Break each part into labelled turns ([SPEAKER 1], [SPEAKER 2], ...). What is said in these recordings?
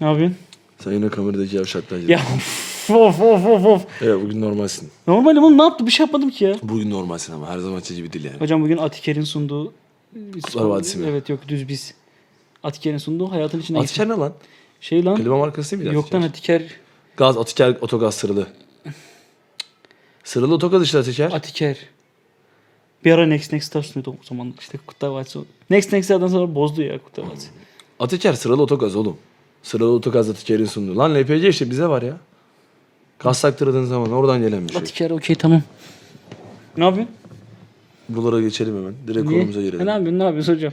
[SPEAKER 1] Ne yapıyorsun?
[SPEAKER 2] Sen yine kameradaki yavşaktaydın.
[SPEAKER 1] Ya of of of of.
[SPEAKER 2] Evet bugün normalsin.
[SPEAKER 1] Normalim oğlum ne yaptı? Bir şey yapmadım ki ya.
[SPEAKER 2] Bugün normalsin ama her zaman gibi değil yani.
[SPEAKER 1] Hocam bugün Atiker'in sunduğu...
[SPEAKER 2] Kutlar Vadisi mi?
[SPEAKER 1] Evet yok düz biz. Atiker'in sunduğu hayatın içinde
[SPEAKER 2] Atiker ne lan?
[SPEAKER 1] Şey lan.
[SPEAKER 2] Klima markası değil miydi
[SPEAKER 1] Yok lan
[SPEAKER 2] Atiker?
[SPEAKER 1] Atiker.
[SPEAKER 2] Gaz, Atiker, otogaz sırılı. Sırılı otogaz işte Atiker.
[SPEAKER 1] Atiker. Bir ara Next Next Star sunuyordu o zaman. İşte Kutlar Vadisi. Next Next Star'dan sonra bozdu ya Kutlar Vadisi.
[SPEAKER 2] Hmm, Atiker sırılı otogaz oğlum. Sırılı otogaz Atiker'in sunduğu. Lan LPG işte bize var ya. Gaz taktırdığın zaman oradan gelen bir şey.
[SPEAKER 1] Atiker okey tamam. Ne yapıyorsun?
[SPEAKER 2] Buralara geçelim hemen. Direkt
[SPEAKER 1] Niye?
[SPEAKER 2] konumuza
[SPEAKER 1] Ha, Ne
[SPEAKER 2] girelim.
[SPEAKER 1] yapıyorsun? Ne yapıyorsun hocam?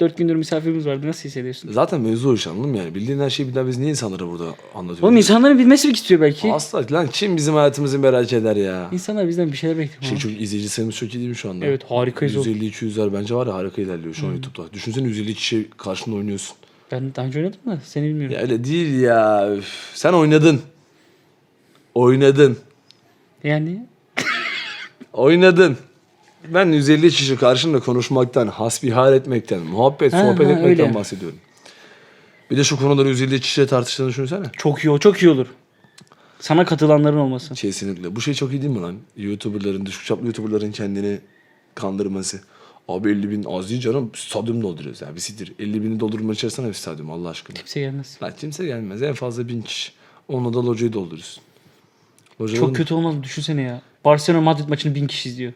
[SPEAKER 1] Dört gündür misafirimiz vardı. Nasıl hissediyorsun?
[SPEAKER 2] Zaten mevzu o iş anladın mı yani? Bildiğin her şeyi birden biz niye insanlara burada anlatıyoruz?
[SPEAKER 1] Oğlum insanların bilmesi bir istiyor belki.
[SPEAKER 2] Asla lan kim bizim hayatımızı merak eder ya?
[SPEAKER 1] İnsanlar bizden bir şeyler bekliyor.
[SPEAKER 2] Şey
[SPEAKER 1] ama.
[SPEAKER 2] çok izleyici sayımız çok iyi değil mi şu anda?
[SPEAKER 1] Evet harikayız oğlum.
[SPEAKER 2] 150-200'ler bence var ya harika ilerliyor şu an YouTube'da. Düşünsene 150 kişi karşında oynuyorsun.
[SPEAKER 1] Ben daha önce oynadım da seni bilmiyorum.
[SPEAKER 2] Ya öyle değil ya. üf. Sen oynadın. Oynadın.
[SPEAKER 1] Yani
[SPEAKER 2] Oynadın. Ben 150 kişi karşında konuşmaktan, hasbihal etmekten, muhabbet,
[SPEAKER 1] Ha,
[SPEAKER 2] sohbet
[SPEAKER 1] ha,
[SPEAKER 2] etmekten
[SPEAKER 1] öyle.
[SPEAKER 2] bahsediyorum. Bir de şu konuları 150 kişiyle tartıştığını düşünsene.
[SPEAKER 1] çok iyi o- çok iyi olur. Sana katılanların olması.
[SPEAKER 2] Kesinlikle. Bu şey çok iyi değil mi lan? YouTuber'ların, düşük çaplı YouTuber'ların kendini kandırması. Abi 50 bin az değil canım. Stadyum dolduruyoruz ya. Bir siktir. 50 bini doldurmaya çalışsana bir stadyum Allah aşkına.
[SPEAKER 1] Kimse gelmez.
[SPEAKER 2] Lan kimse gelmez. En fazla bin kişi. Onunla da locayı doldururuz. Loca
[SPEAKER 1] Çok kötü olmaz mı? Düşünsene ya. Barcelona Madrid maçını bin kişi izliyor.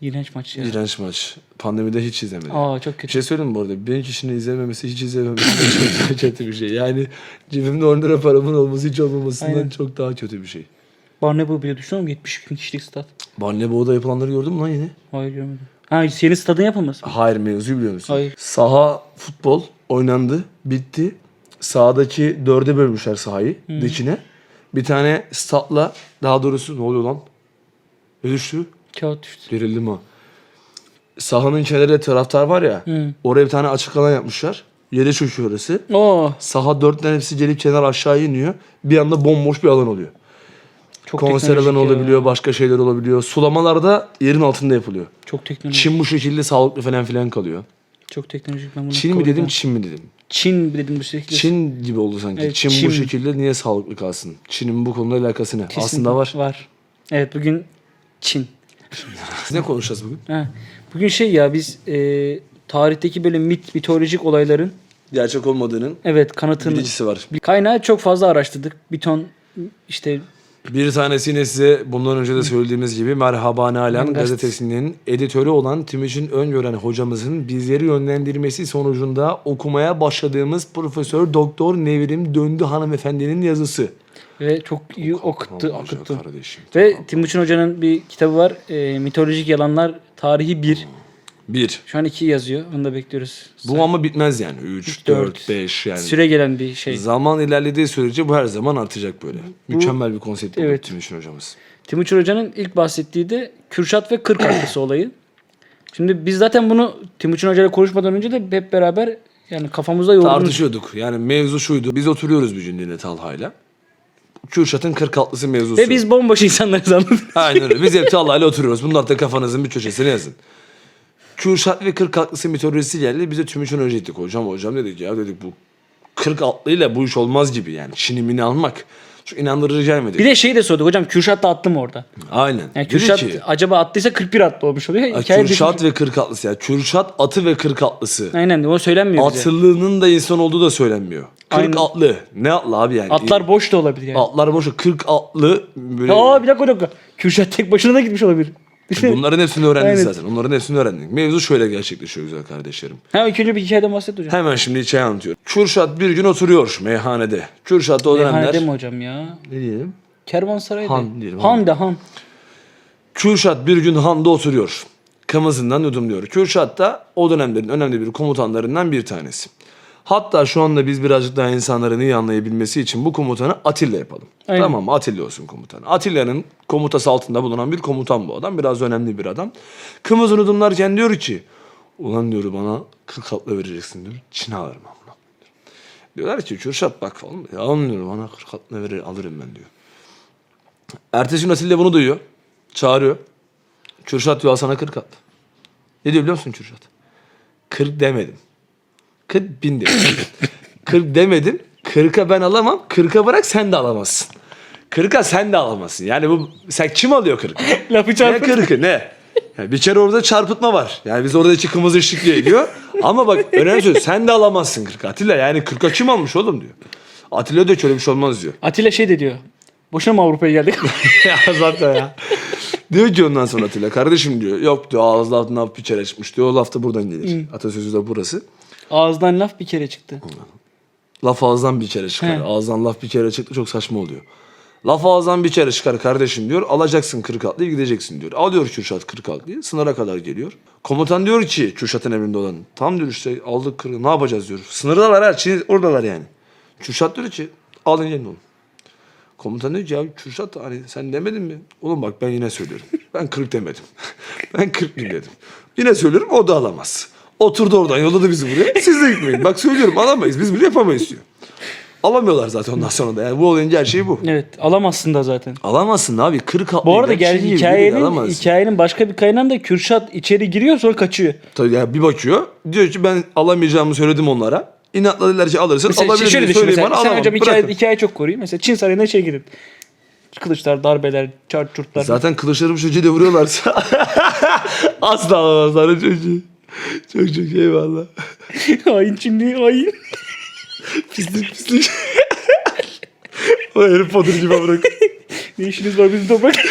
[SPEAKER 1] İğrenç maç ya.
[SPEAKER 2] İğrenç maç. Pandemide hiç izlemedim.
[SPEAKER 1] Aa çok
[SPEAKER 2] Bir
[SPEAKER 1] kötü.
[SPEAKER 2] şey söyleyeyim mi bu arada? Bin kişinin izlememesi, hiç izlememesi çok daha kötü bir şey. Yani cebimde 10 lira paramın olması hiç olmamasından
[SPEAKER 1] Aynen.
[SPEAKER 2] çok daha kötü bir şey.
[SPEAKER 1] Barnebo bile düşünüyor mu? 70 bin kişilik stat.
[SPEAKER 2] Barnebo'da yapılanları gördün mü lan yine?
[SPEAKER 1] Hayır görmedim. Ha senin stadın yapılmaz.
[SPEAKER 2] Hayır mevzuyu biliyor musun?
[SPEAKER 1] Hayır.
[SPEAKER 2] Saha futbol oynandı, bitti. Sahadaki dörde bölmüşler sahayı, dikine. Bir tane statla, daha doğrusu ne oluyor lan? Ne düştü?
[SPEAKER 1] Kağıt düştü.
[SPEAKER 2] Gerildim ha. Sahanın kenarında taraftar var ya,
[SPEAKER 1] Hı.
[SPEAKER 2] oraya bir tane açık alan yapmışlar. Yere çöküyor orası.
[SPEAKER 1] Oo.
[SPEAKER 2] Saha dörtten hepsi gelip kenar aşağı iniyor. Bir anda bomboş bir alan oluyor.
[SPEAKER 1] Çok
[SPEAKER 2] Konser
[SPEAKER 1] teknolojik
[SPEAKER 2] alanı
[SPEAKER 1] ya.
[SPEAKER 2] olabiliyor, başka şeyler olabiliyor. Sulamalar da yerin altında yapılıyor.
[SPEAKER 1] Çok teknolojik.
[SPEAKER 2] Çim bu şekilde sağlıklı falan filan kalıyor.
[SPEAKER 1] Çok teknolojik. Ben bunu
[SPEAKER 2] Çin mi
[SPEAKER 1] kabul
[SPEAKER 2] dedim,
[SPEAKER 1] edemem.
[SPEAKER 2] Çin mi dedim?
[SPEAKER 1] Çin dedim bu şekilde.
[SPEAKER 2] Çin gibi oldu sanki.
[SPEAKER 1] Evet,
[SPEAKER 2] Çin,
[SPEAKER 1] Çin.
[SPEAKER 2] bu şekilde niye sağlıklı kalsın? Çin'in bu konuda alakası ne?
[SPEAKER 1] Kesin
[SPEAKER 2] Aslında var.
[SPEAKER 1] Var. Evet bugün Çin.
[SPEAKER 2] Biz ne konuşacağız bugün?
[SPEAKER 1] Ha. Bugün şey ya biz e, tarihteki böyle mit, mitolojik olayların
[SPEAKER 2] Gerçek olmadığının
[SPEAKER 1] evet kanıtını
[SPEAKER 2] bilicisi var.
[SPEAKER 1] kaynağı çok fazla araştırdık. Bir ton işte
[SPEAKER 2] Bir tanesi yine size bundan önce de söylediğimiz gibi Merhaba Nalan
[SPEAKER 1] Gazete-
[SPEAKER 2] gazetesinin editörü olan Timuçin Öngören hocamızın bizleri yönlendirmesi sonucunda okumaya başladığımız Profesör Doktor Nevrim Döndü hanımefendinin yazısı.
[SPEAKER 1] ve çok iyi okuttu,
[SPEAKER 2] Aman
[SPEAKER 1] akıttı.
[SPEAKER 2] Kardeşim.
[SPEAKER 1] Ve Timuçin Hoca'nın bir kitabı var. E, mitolojik yalanlar tarihi 1.
[SPEAKER 2] Bir.
[SPEAKER 1] Şu an 2 yazıyor. Onu da bekliyoruz.
[SPEAKER 2] Bu ama bitmez yani. 3,
[SPEAKER 1] Dört.
[SPEAKER 2] 4, 5 yani.
[SPEAKER 1] Süre gelen bir şey.
[SPEAKER 2] Zaman ilerlediği sürece bu her zaman artacak böyle. Mükemmel bir konsept oldu
[SPEAKER 1] Evet.
[SPEAKER 2] Timuçin hocamız.
[SPEAKER 1] Timuçin Hoca'nın ilk bahsettiği de Kürşat ve Kırk arkası olayı. Şimdi biz zaten bunu Timuçin Hoca'yla konuşmadan önce de hep beraber yani kafamızda yoğurduğumuz
[SPEAKER 2] Tartışıyorduk. Yani mevzu şuydu. Biz oturuyoruz bir cümleyle Talha'yla. Kürşat'ın 46'sı mevzusu.
[SPEAKER 1] Ve biz bomboş insanlarız anladın.
[SPEAKER 2] Aynen öyle. Biz hep Çağla'yla oturuyoruz. Bunlar da kafanızın bir köşesine yazın. Kürşat ve 40 atlısı mitolojisi geldi. Bize tümüçün önce gittik. Hocam hocam dedik ya dedik bu 40 atlıyla bu iş olmaz gibi yani. Çinimini almak. Çok inandırıcı gelmedi.
[SPEAKER 1] Bir de şeyi de sorduk hocam Kürşat da attı mı orada?
[SPEAKER 2] Aynen.
[SPEAKER 1] Yani
[SPEAKER 2] Dedi
[SPEAKER 1] Kürşat
[SPEAKER 2] ki,
[SPEAKER 1] acaba attıysa 41 atlı olmuş oluyor.
[SPEAKER 2] "Ha,
[SPEAKER 1] Hikaye
[SPEAKER 2] Kürşat
[SPEAKER 1] değişmiş.
[SPEAKER 2] ve 40 atlısı ya. Kürşat atı ve 40 atlısı.
[SPEAKER 1] Aynen o söylenmiyor bize.
[SPEAKER 2] Atlılığının da insan olduğu da söylenmiyor. 40
[SPEAKER 1] Aynen.
[SPEAKER 2] atlı. Ne atlı abi yani?
[SPEAKER 1] Atlar boş da olabilir yani.
[SPEAKER 2] Atlar boşu 40 atlı böyle
[SPEAKER 1] Aa bir dakika bir dakika. Kürşat tek başına da gitmiş olabilir.
[SPEAKER 2] E,
[SPEAKER 1] şey-
[SPEAKER 2] Bunların hepsini öğrendik
[SPEAKER 1] Aynen.
[SPEAKER 2] zaten. Onların hepsini öğrendik. Mevzu şöyle gerçekleşiyor güzel kardeşlerim.
[SPEAKER 1] ha ilk önce bir hikayeden bahset hocam.
[SPEAKER 2] Hemen şimdi hikaye anlatıyorum. Kürşat bir gün oturuyor meyhanede. Kürşat da o dönemler...
[SPEAKER 1] Meyhanede E, mi hocam ya?
[SPEAKER 2] Ne diyelim?
[SPEAKER 1] Kervansaray'da.
[SPEAKER 2] Han diyelim, Han.
[SPEAKER 1] Han de Han.
[SPEAKER 2] Kürşat bir gün handa oturuyor. Kımızından yudumluyor. Kürşat da o dönemlerin önemli bir komutanlarından bir tanesi. Hatta şu anda biz birazcık daha insanların iyi anlayabilmesi için bu komutanı Atilla yapalım.
[SPEAKER 1] Aynen.
[SPEAKER 2] Tamam mı? Atilla olsun komutanı. Atilla'nın komutası altında bulunan bir komutan bu adam. Biraz önemli bir adam. Kımızını yudumlarken diyor ki ulan diyor bana 40 atla vereceksin diyor. Çin'e alırım amına. Diyorlar ki Kürşat bak falan. Ya oğlum diyor bana 40 atla verir alırım ben diyor. Ertesi gün Atilla bunu duyuyor. Çağırıyor. Kürşat diyor al sana 40 at. Ne diyor biliyor musun Kürşat? 40 demedim. 40 bin dedim. 40 demedim. 40'a ben alamam. 40'a bırak sen de alamazsın. 40'a sen de alamazsın. Yani bu sen kim alıyor 40'ı?
[SPEAKER 1] Lafı
[SPEAKER 2] Ne
[SPEAKER 1] çarpıt.
[SPEAKER 2] kırkı ne? Yani bir kere orada çarpıtma var. Yani biz orada çıkımız ışık diye diyor. Ama bak önemli söz sen de alamazsın 40 Atilla. Yani 40 kim almış oğlum diyor. Atilla diyor şöyle bir şey olmaz diyor.
[SPEAKER 1] Atilla şey de diyor. Boşuna mı Avrupa'ya geldik?
[SPEAKER 2] ya zaten ya. Diyor ki ondan sonra Atilla kardeşim diyor. Yok diyor ağız altından bir kere çıkmış diyor. O laf da buradan gelir. Atasözü de burası.
[SPEAKER 1] Ağızdan laf bir kere çıktı.
[SPEAKER 2] Laf ağızdan bir kere çıkar.
[SPEAKER 1] He.
[SPEAKER 2] Ağızdan laf bir kere çıktı çok saçma oluyor. Laf ağızdan bir kere çıkar kardeşim diyor. Alacaksın kırk atlıyı gideceksin diyor. Alıyor Kürşat kırk atlıyı. Sınıra kadar geliyor. Komutan diyor ki Kürşat'ın emrinde olan. Tam diyor işte aldık kırk ne yapacağız diyor. Sınırdalar her şey oradalar yani. Kürşat diyor ki alın gelin oğlum. Komutan diyor ki ya Kürşat hani sen demedin mi? Oğlum bak ben yine söylüyorum. Ben 40 demedim. ben 40 bin dedim. Yine söylüyorum o da alamaz. Oturdu oradan yolladı bizi buraya. Siz de gitmeyin. Bak söylüyorum alamayız. Biz bile yapamayız diyor. Alamıyorlar zaten ondan sonra da. Yani bu olayın her şeyi bu.
[SPEAKER 1] Evet alamazsın da zaten.
[SPEAKER 2] Alamazsın abi. 40
[SPEAKER 1] Bu arada gel hikayenin, hikayenin başka bir kaynağında da Kürşat içeri giriyor sonra kaçıyor.
[SPEAKER 2] Tabii yani bir bakıyor. Diyor ki ben alamayacağımı söyledim onlara. İnatla dediler ki alırsın.
[SPEAKER 1] Mesela
[SPEAKER 2] Alabilir
[SPEAKER 1] şöyle
[SPEAKER 2] miyim?
[SPEAKER 1] düşün
[SPEAKER 2] Söyleyin
[SPEAKER 1] mesela.
[SPEAKER 2] bana
[SPEAKER 1] Sen
[SPEAKER 2] alamam.
[SPEAKER 1] hocam hikaye,
[SPEAKER 2] Bırakın.
[SPEAKER 1] hikaye çok koruyor. Mesela Çin Sarayı'na içeri gidip kılıçlar, darbeler, çarçurtlar.
[SPEAKER 2] Zaten kılıçlarım çocuğu de vuruyorlarsa asla alamazlar o çocuğu. Çok çok eyvallah.
[SPEAKER 1] hain Çinli, hain.
[SPEAKER 2] Pislik pislik. o herif Potter gibi bırak.
[SPEAKER 1] Ne işiniz var bizim toprak?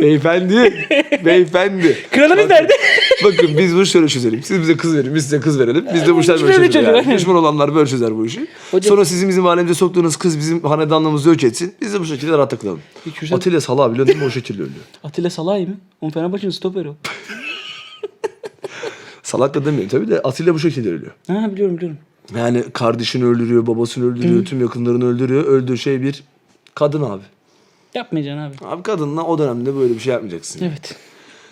[SPEAKER 2] Beyefendi. Beyefendi.
[SPEAKER 1] Kralımız nerede?
[SPEAKER 2] Bakın biz bu işi şöyle çözelim. Siz bize kız verin, biz size kız verelim. Biz de bu işler
[SPEAKER 1] biz
[SPEAKER 2] böyle
[SPEAKER 1] böyle
[SPEAKER 2] çözelim.
[SPEAKER 1] çözelim.
[SPEAKER 2] Yani. Düşman olanlar böyle çözer bu işi.
[SPEAKER 1] Hocam-
[SPEAKER 2] Sonra sizin bizim halemize soktuğunuz kız bizim hanedanlığımızı yok etsin. Biz de bu şekilde rahat takılalım.
[SPEAKER 1] Peki hocam-
[SPEAKER 2] Atilla salağı biliyor değil mi? O şekilde ölüyor.
[SPEAKER 1] Atilla Salay mı? Onun Fenerbahçe'nin stoperi o.
[SPEAKER 2] Salak da demiyorum tabii de Atilla bu şekilde ölüyor.
[SPEAKER 1] Ha biliyorum biliyorum.
[SPEAKER 2] Yani kardeşini öldürüyor, babasını öldürüyor, tüm yakınlarını öldürüyor. Öldüğü şey bir kadın abi.
[SPEAKER 1] Yapmayacaksın abi.
[SPEAKER 2] Abi kadınla o dönemde böyle bir şey yapmayacaksın.
[SPEAKER 1] Evet.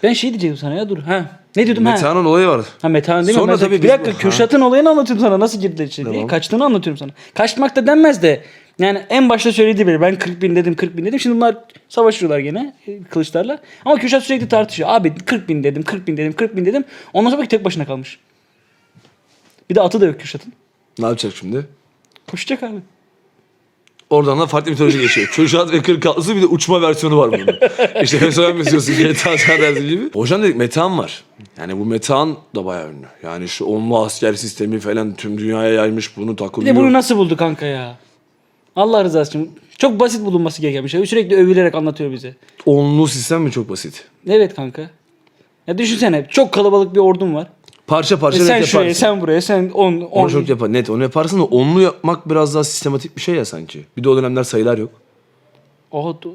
[SPEAKER 1] Ben şey diyeceğim sana ya dur. Ha. Ne diyordum ha?
[SPEAKER 2] Metehan'ın olayı var.
[SPEAKER 1] Ha Metehan değil
[SPEAKER 2] Sonra
[SPEAKER 1] mi? Ben-
[SPEAKER 2] tabii
[SPEAKER 1] bir
[SPEAKER 2] biz-
[SPEAKER 1] dakika
[SPEAKER 2] Ha.
[SPEAKER 1] Kürşat'ın olayını anlatıyorum sana. Nasıl girdiler içeri? diye.
[SPEAKER 2] Tamam.
[SPEAKER 1] Kaçtığını anlatıyorum sana. Kaçmak da denmez de. Yani en başta söylediği biri. Ben 40 bin dedim 40 bin dedim. Şimdi bunlar savaşıyorlar gene e, kılıçlarla. Ama Kürşat sürekli tartışıyor. Abi 40 bin dedim 40 bin dedim 40 bin dedim. Ondan sonra belki tek başına kalmış. Bir de atı da yok Kürşat'ın.
[SPEAKER 2] Ne yapacak şimdi?
[SPEAKER 1] Koşacak abi.
[SPEAKER 2] Oradan da farklı mitoloji geçiyor. Kürşat ve Kırk Atlısı bir de uçma versiyonu var bunun. işte mesela mesela GTA San Andreas gibi. Hocam dedik Metehan var. Yani bu Metehan da bayağı ünlü. Yani şu onlu asker sistemi falan tüm dünyaya yaymış bunu
[SPEAKER 1] Bir
[SPEAKER 2] takılıyor.
[SPEAKER 1] de bunu nasıl buldu kanka ya? Allah rızası için. Çok basit bulunması gereken bir şey. Sürekli övülerek anlatıyor bize.
[SPEAKER 2] Onlu sistem mi çok basit?
[SPEAKER 1] Evet kanka. Ya düşünsene çok kalabalık bir ordum var.
[SPEAKER 2] Parça
[SPEAKER 1] E
[SPEAKER 2] parça net
[SPEAKER 1] sen
[SPEAKER 2] yaparsın.
[SPEAKER 1] şuraya, sen buraya, sen on, on.
[SPEAKER 2] Onu çok yapar. Net onu yaparsın da onlu yapmak biraz daha sistematik bir şey ya sanki. Bir de o dönemler sayılar yok.
[SPEAKER 1] Oha, do-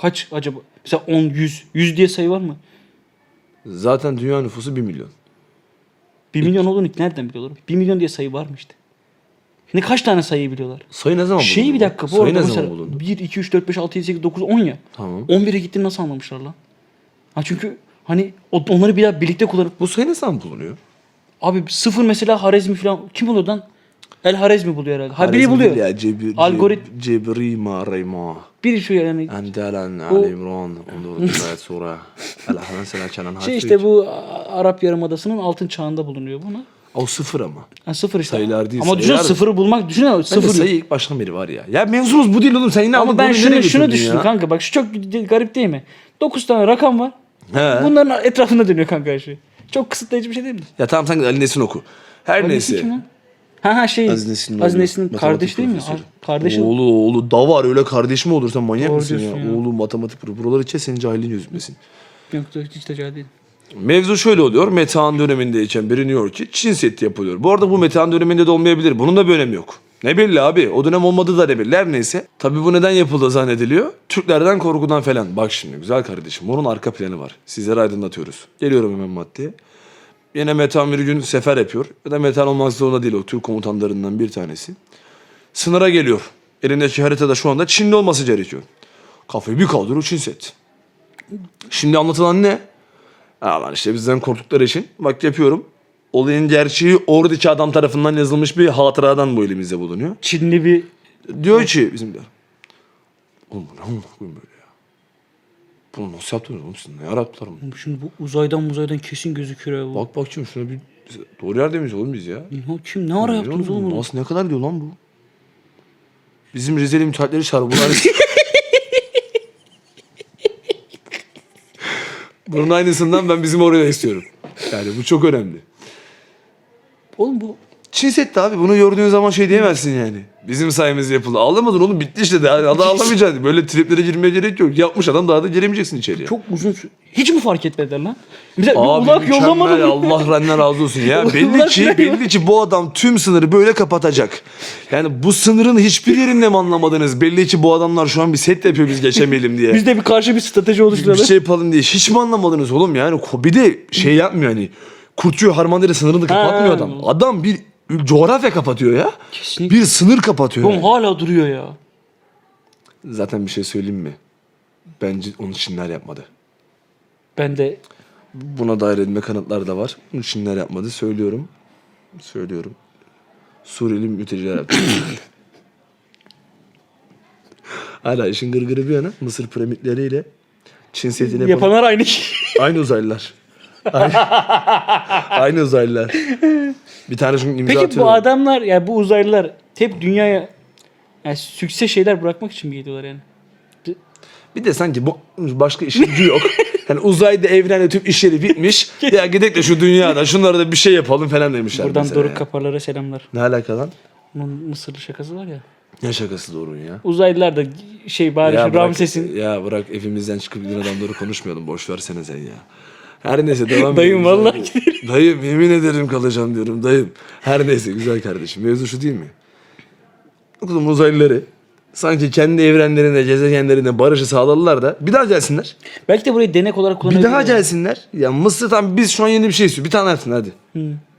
[SPEAKER 1] kaç acaba? Mesela 10, 100. 100 diye sayı var mı?
[SPEAKER 2] Zaten dünya nüfusu 1 milyon.
[SPEAKER 1] 1 milyon olduğunu nereden biliyorlar? 1 milyon diye sayı var mı işte? Şimdi kaç tane sayıyı biliyorlar?
[SPEAKER 2] Sayı ne zaman bulundu?
[SPEAKER 1] Şey bir dakika bu
[SPEAKER 2] Sayı
[SPEAKER 1] arada
[SPEAKER 2] ne zaman
[SPEAKER 1] mesela
[SPEAKER 2] bulundu?
[SPEAKER 1] 1, 2, 3, 4, 5, 6, 7, 8, 9, 10 ya.
[SPEAKER 2] Tamam.
[SPEAKER 1] 11'e gittiğini nasıl anlamışlar lan? Ha çünkü hani o- onları bir daha birlikte kullanıp
[SPEAKER 2] Bu sayı ne zaman bulunuyor?
[SPEAKER 1] Abi sıfır mesela Harezmi falan kim buluyor lan? El Harezmi buluyor herhalde. Ha biri
[SPEAKER 2] Harizm
[SPEAKER 1] buluyor.
[SPEAKER 2] değil Ya, cebir,
[SPEAKER 1] Algorit-
[SPEAKER 2] Cebrima Reyma.
[SPEAKER 1] Biri şu yani.
[SPEAKER 2] Endelen Ali İmran. 14. ayet sura. Elhamdülillah selam kenan
[SPEAKER 1] Şey
[SPEAKER 2] harfi.
[SPEAKER 1] işte bu A- Arap Yarımadası'nın altın çağında bulunuyor buna.
[SPEAKER 2] O sıfır ama.
[SPEAKER 1] Ha sıfır işte.
[SPEAKER 2] Sayılar değil,
[SPEAKER 1] Ama düşün
[SPEAKER 2] sayılar.
[SPEAKER 1] sıfırı bulmak düşünün
[SPEAKER 2] Sıfır
[SPEAKER 1] sıfır.
[SPEAKER 2] sayı ilk baştan beri var ya. Ya mevzumuz bu değil oğlum. Sen yine
[SPEAKER 1] Ama
[SPEAKER 2] aldın,
[SPEAKER 1] ben
[SPEAKER 2] bunu
[SPEAKER 1] şunu
[SPEAKER 2] nereye
[SPEAKER 1] şunu
[SPEAKER 2] götürdün
[SPEAKER 1] düşündüm
[SPEAKER 2] ya?
[SPEAKER 1] kanka bak şu çok garip değil mi? 9 tane rakam var.
[SPEAKER 2] He.
[SPEAKER 1] Bunların etrafında dönüyor kanka her şey. Çok kısıtlayıcı bir şey değil mi?
[SPEAKER 2] Ya tamam sen Ali Nesin oku. Her
[SPEAKER 1] Nesin
[SPEAKER 2] neyse.
[SPEAKER 1] kim lan? Ha ha şey.
[SPEAKER 2] Aziz Nesin'in
[SPEAKER 1] Aziz
[SPEAKER 2] oğlu,
[SPEAKER 1] Nesin'in
[SPEAKER 2] matematik
[SPEAKER 1] kardeş değil mi?
[SPEAKER 2] profesörü.
[SPEAKER 1] Kardeşim.
[SPEAKER 2] Oğlu oğlu da var öyle kardeş mi olur sen manyak
[SPEAKER 1] Doğru
[SPEAKER 2] mısın ya?
[SPEAKER 1] diyorsun ya.
[SPEAKER 2] Oğlu matematik pro- buraları kes senin cahilliğin gözükmesin.
[SPEAKER 1] Yok hiç tecavüz değil.
[SPEAKER 2] Mevzu şöyle oluyor. Metehan dönemindeyken biliniyor ki Çin Seddi yapılıyor. Bu arada bu Metehan döneminde de olmayabilir. Bunun da bir önemi yok. Ne belli abi. O dönem olmadı da ne belli. Her neyse. Tabi bu neden yapıldı zannediliyor. Türklerden korkudan falan. Bak şimdi güzel kardeşim. Bunun arka planı var. Sizleri aydınlatıyoruz. Geliyorum hemen maddeye. Yine Metehan bir gün sefer yapıyor. Ya da Metehan olmak zorunda değil. O Türk komutanlarından bir tanesi. Sınıra geliyor. Elindeki haritada şu anda Çinli olması gerekiyor. Kafayı bir kaldırıyor Çin Seddi. Şimdi anlatılan ne? Ha lan işte bizden korktukları için. Bak yapıyorum. Olayın gerçeği oradaki adam tarafından yazılmış bir hatıradan bu elimizde bulunuyor.
[SPEAKER 1] Çinli bir
[SPEAKER 2] Diyor ki bizimkiler. Oğlum bu ne amına koyayım böyle ya? Bunu nasıl yaptınız oğlum siz? Ne yarattılar bunu?
[SPEAKER 1] Şimdi bu uzaydan uzaydan kesin gözüküyor abi. bu.
[SPEAKER 2] Bak bakayım şuna bir Doğru yer demiş oğlum biz ya.
[SPEAKER 1] Ya kim ne ara yaptınız oğlum bunu?
[SPEAKER 2] Nasıl ne kadar diyor lan bu? Bizim Rizeli müteahhitleri çağır. Bunlar... Bunun aynısından ben bizim oraya da istiyorum. Yani bu çok önemli.
[SPEAKER 1] Oğlum bu
[SPEAKER 2] Çin Seddi abi bunu gördüğün zaman şey diyemezsin yani. Bizim sayemizde yapıldı. Ağlamadın oğlum bitti işte. Daha, daha ağlamayacaksın. Böyle triplere girmeye gerek yok. Yapmış adam daha da giremeyeceksin içeriye.
[SPEAKER 1] çok uzun sü- Hiç mi fark etmediler lan? Bize
[SPEAKER 2] Abi
[SPEAKER 1] bir ulak
[SPEAKER 2] mükemmel
[SPEAKER 1] yollamadın
[SPEAKER 2] ya,
[SPEAKER 1] mı?
[SPEAKER 2] Allah benden razı olsun ya. belli
[SPEAKER 1] Ulak
[SPEAKER 2] ki
[SPEAKER 1] ya.
[SPEAKER 2] belli ki bu adam tüm sınırı böyle kapatacak. Yani bu sınırın hiçbir yerinde mi anlamadınız? Belli ki bu adamlar şu an bir set yapıyor biz geçemeyelim diye.
[SPEAKER 1] Biz de bir karşı bir strateji
[SPEAKER 2] bir
[SPEAKER 1] oluşturalım.
[SPEAKER 2] şey yapalım diye. Hiç mi anlamadınız oğlum yani? Ko- Bir de şey yapmıyor hani. Kurtuyor harmanları sınırını kapatmıyor adam. Adam bir coğrafya kapatıyor ya.
[SPEAKER 1] Kesinlikle.
[SPEAKER 2] Bir sınır kapatıyor.
[SPEAKER 1] Oğlum
[SPEAKER 2] yani.
[SPEAKER 1] hala duruyor ya.
[SPEAKER 2] Zaten bir şey söyleyeyim mi? Bence onu Çinler yapmadı.
[SPEAKER 1] Ben de
[SPEAKER 2] Buna dair elime kanıtlar da var. Bunu Çinler yapmadı. Söylüyorum. Söylüyorum. Suriyeli mülteciler yaptı. Hala işin gırgırı bir yana Mısır piramitleriyle Çin Seddi'ni yapan
[SPEAKER 1] yapanlar aynı şey.
[SPEAKER 2] aynı uzaylılar. Aynı, aynı uzaylılar. Bir tane çünkü imza
[SPEAKER 1] Peki bu
[SPEAKER 2] atıyorum.
[SPEAKER 1] adamlar ya bu uzaylılar hep dünyaya yani sükse şeyler bırakmak için mi geliyorlar yani?
[SPEAKER 2] Bir de sanki bu başka işin gücü yok. Yani uzayda evrende tüm işleri bitmiş. ya gidelim de şu dünyada şunlara da bir şey yapalım falan demişler.
[SPEAKER 1] Buradan
[SPEAKER 2] mesela
[SPEAKER 1] Doruk
[SPEAKER 2] yani.
[SPEAKER 1] Kaparlara selamlar.
[SPEAKER 2] Ne alaka lan?
[SPEAKER 1] Onun Mısırlı şakası var ya.
[SPEAKER 2] Ne şakası Doruk'un ya?
[SPEAKER 1] Uzaylılar da şey bari
[SPEAKER 2] Ya
[SPEAKER 1] şu Ramses'in
[SPEAKER 2] Ya bırak evimizden çıkıp giden adamları konuşmayalım. Boş versene sen ya. Her neyse devam
[SPEAKER 1] Dayım,
[SPEAKER 2] edelim.
[SPEAKER 1] vallahi
[SPEAKER 2] Dayım yemin ederim kalacağım diyorum dayım. Her neyse güzel kardeşim. Mevzu şu değil mi? Oğlum uzaylıları sanki kendi evrenlerinde, gezegenlerinde barışı sağladılar da bir daha gelsinler.
[SPEAKER 1] belki de burayı denek olarak
[SPEAKER 2] Bir
[SPEAKER 1] kullanabilir.
[SPEAKER 2] daha gelsinler. Ya Mısır tam biz şu an yeni bir şey istiyor. Bir tane yapsın hadi.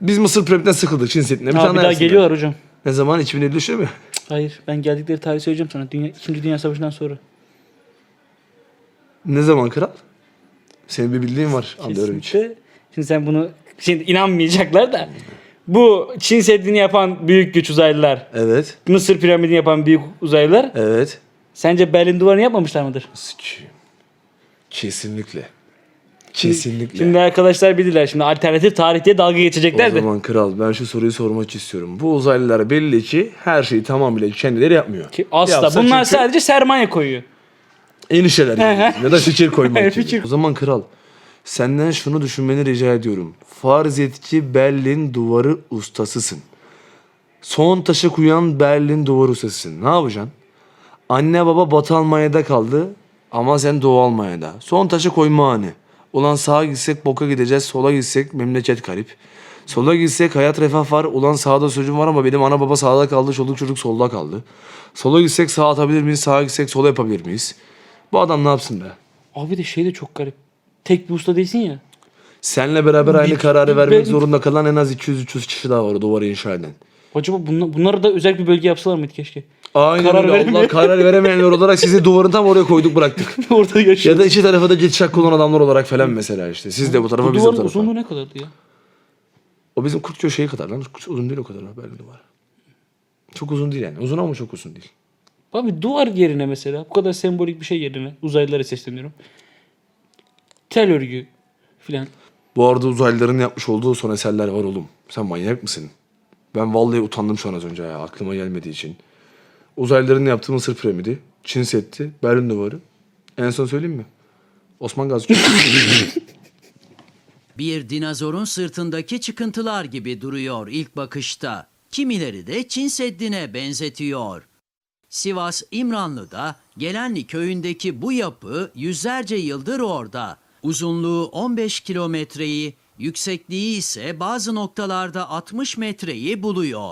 [SPEAKER 2] Biz Mısır piramitten sıkıldık Çin Seddi'ne. Bir
[SPEAKER 1] Ha,
[SPEAKER 2] tane
[SPEAKER 1] Hmm. bir daha
[SPEAKER 2] yapsınlar.
[SPEAKER 1] geliyorlar hocam.
[SPEAKER 2] Ne zaman? 2053'e mi?
[SPEAKER 1] Hayır ben geldikleri tarihi söyleyeceğim sana. Dünya, İkinci Dünya Savaşı'ndan sonra.
[SPEAKER 2] Ne zaman kral? Senin bir bildiğin var. Anlıyorum hiç.
[SPEAKER 1] Kesinlikle. Şimdi sen bunu şimdi inanmayacaklar da. Bu Çin Seddi'ni yapan büyük güç uzaylılar.
[SPEAKER 2] Evet.
[SPEAKER 1] Mısır piramidini yapan büyük uzaylılar.
[SPEAKER 2] Evet.
[SPEAKER 1] Sence Berlin duvarını yapmamışlar mıdır?
[SPEAKER 2] Sikiyim. Kesinlikle.
[SPEAKER 1] Şimdi-
[SPEAKER 2] Kesinlikle.
[SPEAKER 1] Şimdi arkadaşlar bilirler şimdi alternatif tarih diye dalga
[SPEAKER 2] o
[SPEAKER 1] geçecekler de.
[SPEAKER 2] zaman kral ben şu soruyu sormak istiyorum. Bu uzaylılar belli ki her şeyi tamamıyla kendileri yapmıyor.
[SPEAKER 1] Ki Asla.
[SPEAKER 2] Yapsa
[SPEAKER 1] Bunlar
[SPEAKER 2] çünkü
[SPEAKER 1] sadece sermaye koyuyor.
[SPEAKER 2] Endişeler gibi. ya da fikir
[SPEAKER 1] Evet,
[SPEAKER 2] koymak gibi.
[SPEAKER 1] fikir.
[SPEAKER 2] O zaman kral senden şunu düşünmeni rica ediyorum. Farz et ki Berlin duvarı ustasısın. Son taşı kuyan Berlin duvarı ustasısın. Ne yapacaksın? Anne baba Batı Almanya'da kaldı ama sen Doğu Almanya'da. Son taşı koyma anı. Ulan sağa gitsek boka gideceğiz, sola gitsek memleket garip. Sola gitsek hayat refah var. Ulan sağda çocuğum var ama benim ana baba sağda kaldı, çoluk çocuk solda kaldı. Sola gitsek sağ atabilir miyiz, sağa gitsek sola yapabilir miyiz? Bu adam ne yapsın be?
[SPEAKER 1] Abi de şey de çok garip. Tek bir usta değilsin ya.
[SPEAKER 2] Senle beraber aynı
[SPEAKER 1] Bir-
[SPEAKER 2] kararı
[SPEAKER 1] bir-
[SPEAKER 2] vermek
[SPEAKER 1] ben-
[SPEAKER 2] zorunda kalan en az 200-300 kişi daha var duvarı inşa eden.
[SPEAKER 1] Acaba bunla, bunlara da özel bir bölge yapsalar mıydı keşke?
[SPEAKER 2] Aynen
[SPEAKER 1] Karar
[SPEAKER 2] karar öyle. Allah
[SPEAKER 1] veremiyor.
[SPEAKER 2] karar veremeyenler olarak sizi duvarın tam oraya koyduk bıraktık.
[SPEAKER 1] Orada yaşıyor.
[SPEAKER 2] Ya da iki tarafa da geçiş hakkı olan adamlar olarak falan mesela işte. Siz de bu tarafa
[SPEAKER 1] Bu
[SPEAKER 2] biz de bu
[SPEAKER 1] duvarın
[SPEAKER 2] tarafa.
[SPEAKER 1] uzunluğu ne kadardı ya?
[SPEAKER 2] O bizim kurt köşeyi kadar lan. Kurt uzun değil o kadar lan Berlin duvarı. Çok uzun değil yani. Uzun ama çok uzun değil.
[SPEAKER 1] Abi duvar yerine mesela bu kadar sembolik bir şey yerine uzaylılara sesleniyorum. Tel örgü filan.
[SPEAKER 2] Bu arada uzaylıların yapmış olduğu son eserler var oğlum. Sen manyak mısın? Ben vallahi utandım şu an az önce ya aklıma gelmediği için. Uzaylıların yaptığı Mısır piramidi, Çin Seddi, Berlin Duvarı. En son söyleyeyim mi? Osman Gazi
[SPEAKER 3] Bir dinozorun sırtındaki çıkıntılar gibi duruyor ilk bakışta. Kimileri de Çin Seddi'ne benzetiyor. Sivas İmranlı'da Gelenli köyündeki bu yapı yüzlerce yıldır orada. Uzunluğu 15 kilometreyi, yüksekliği ise bazı noktalarda 60 metreyi buluyor.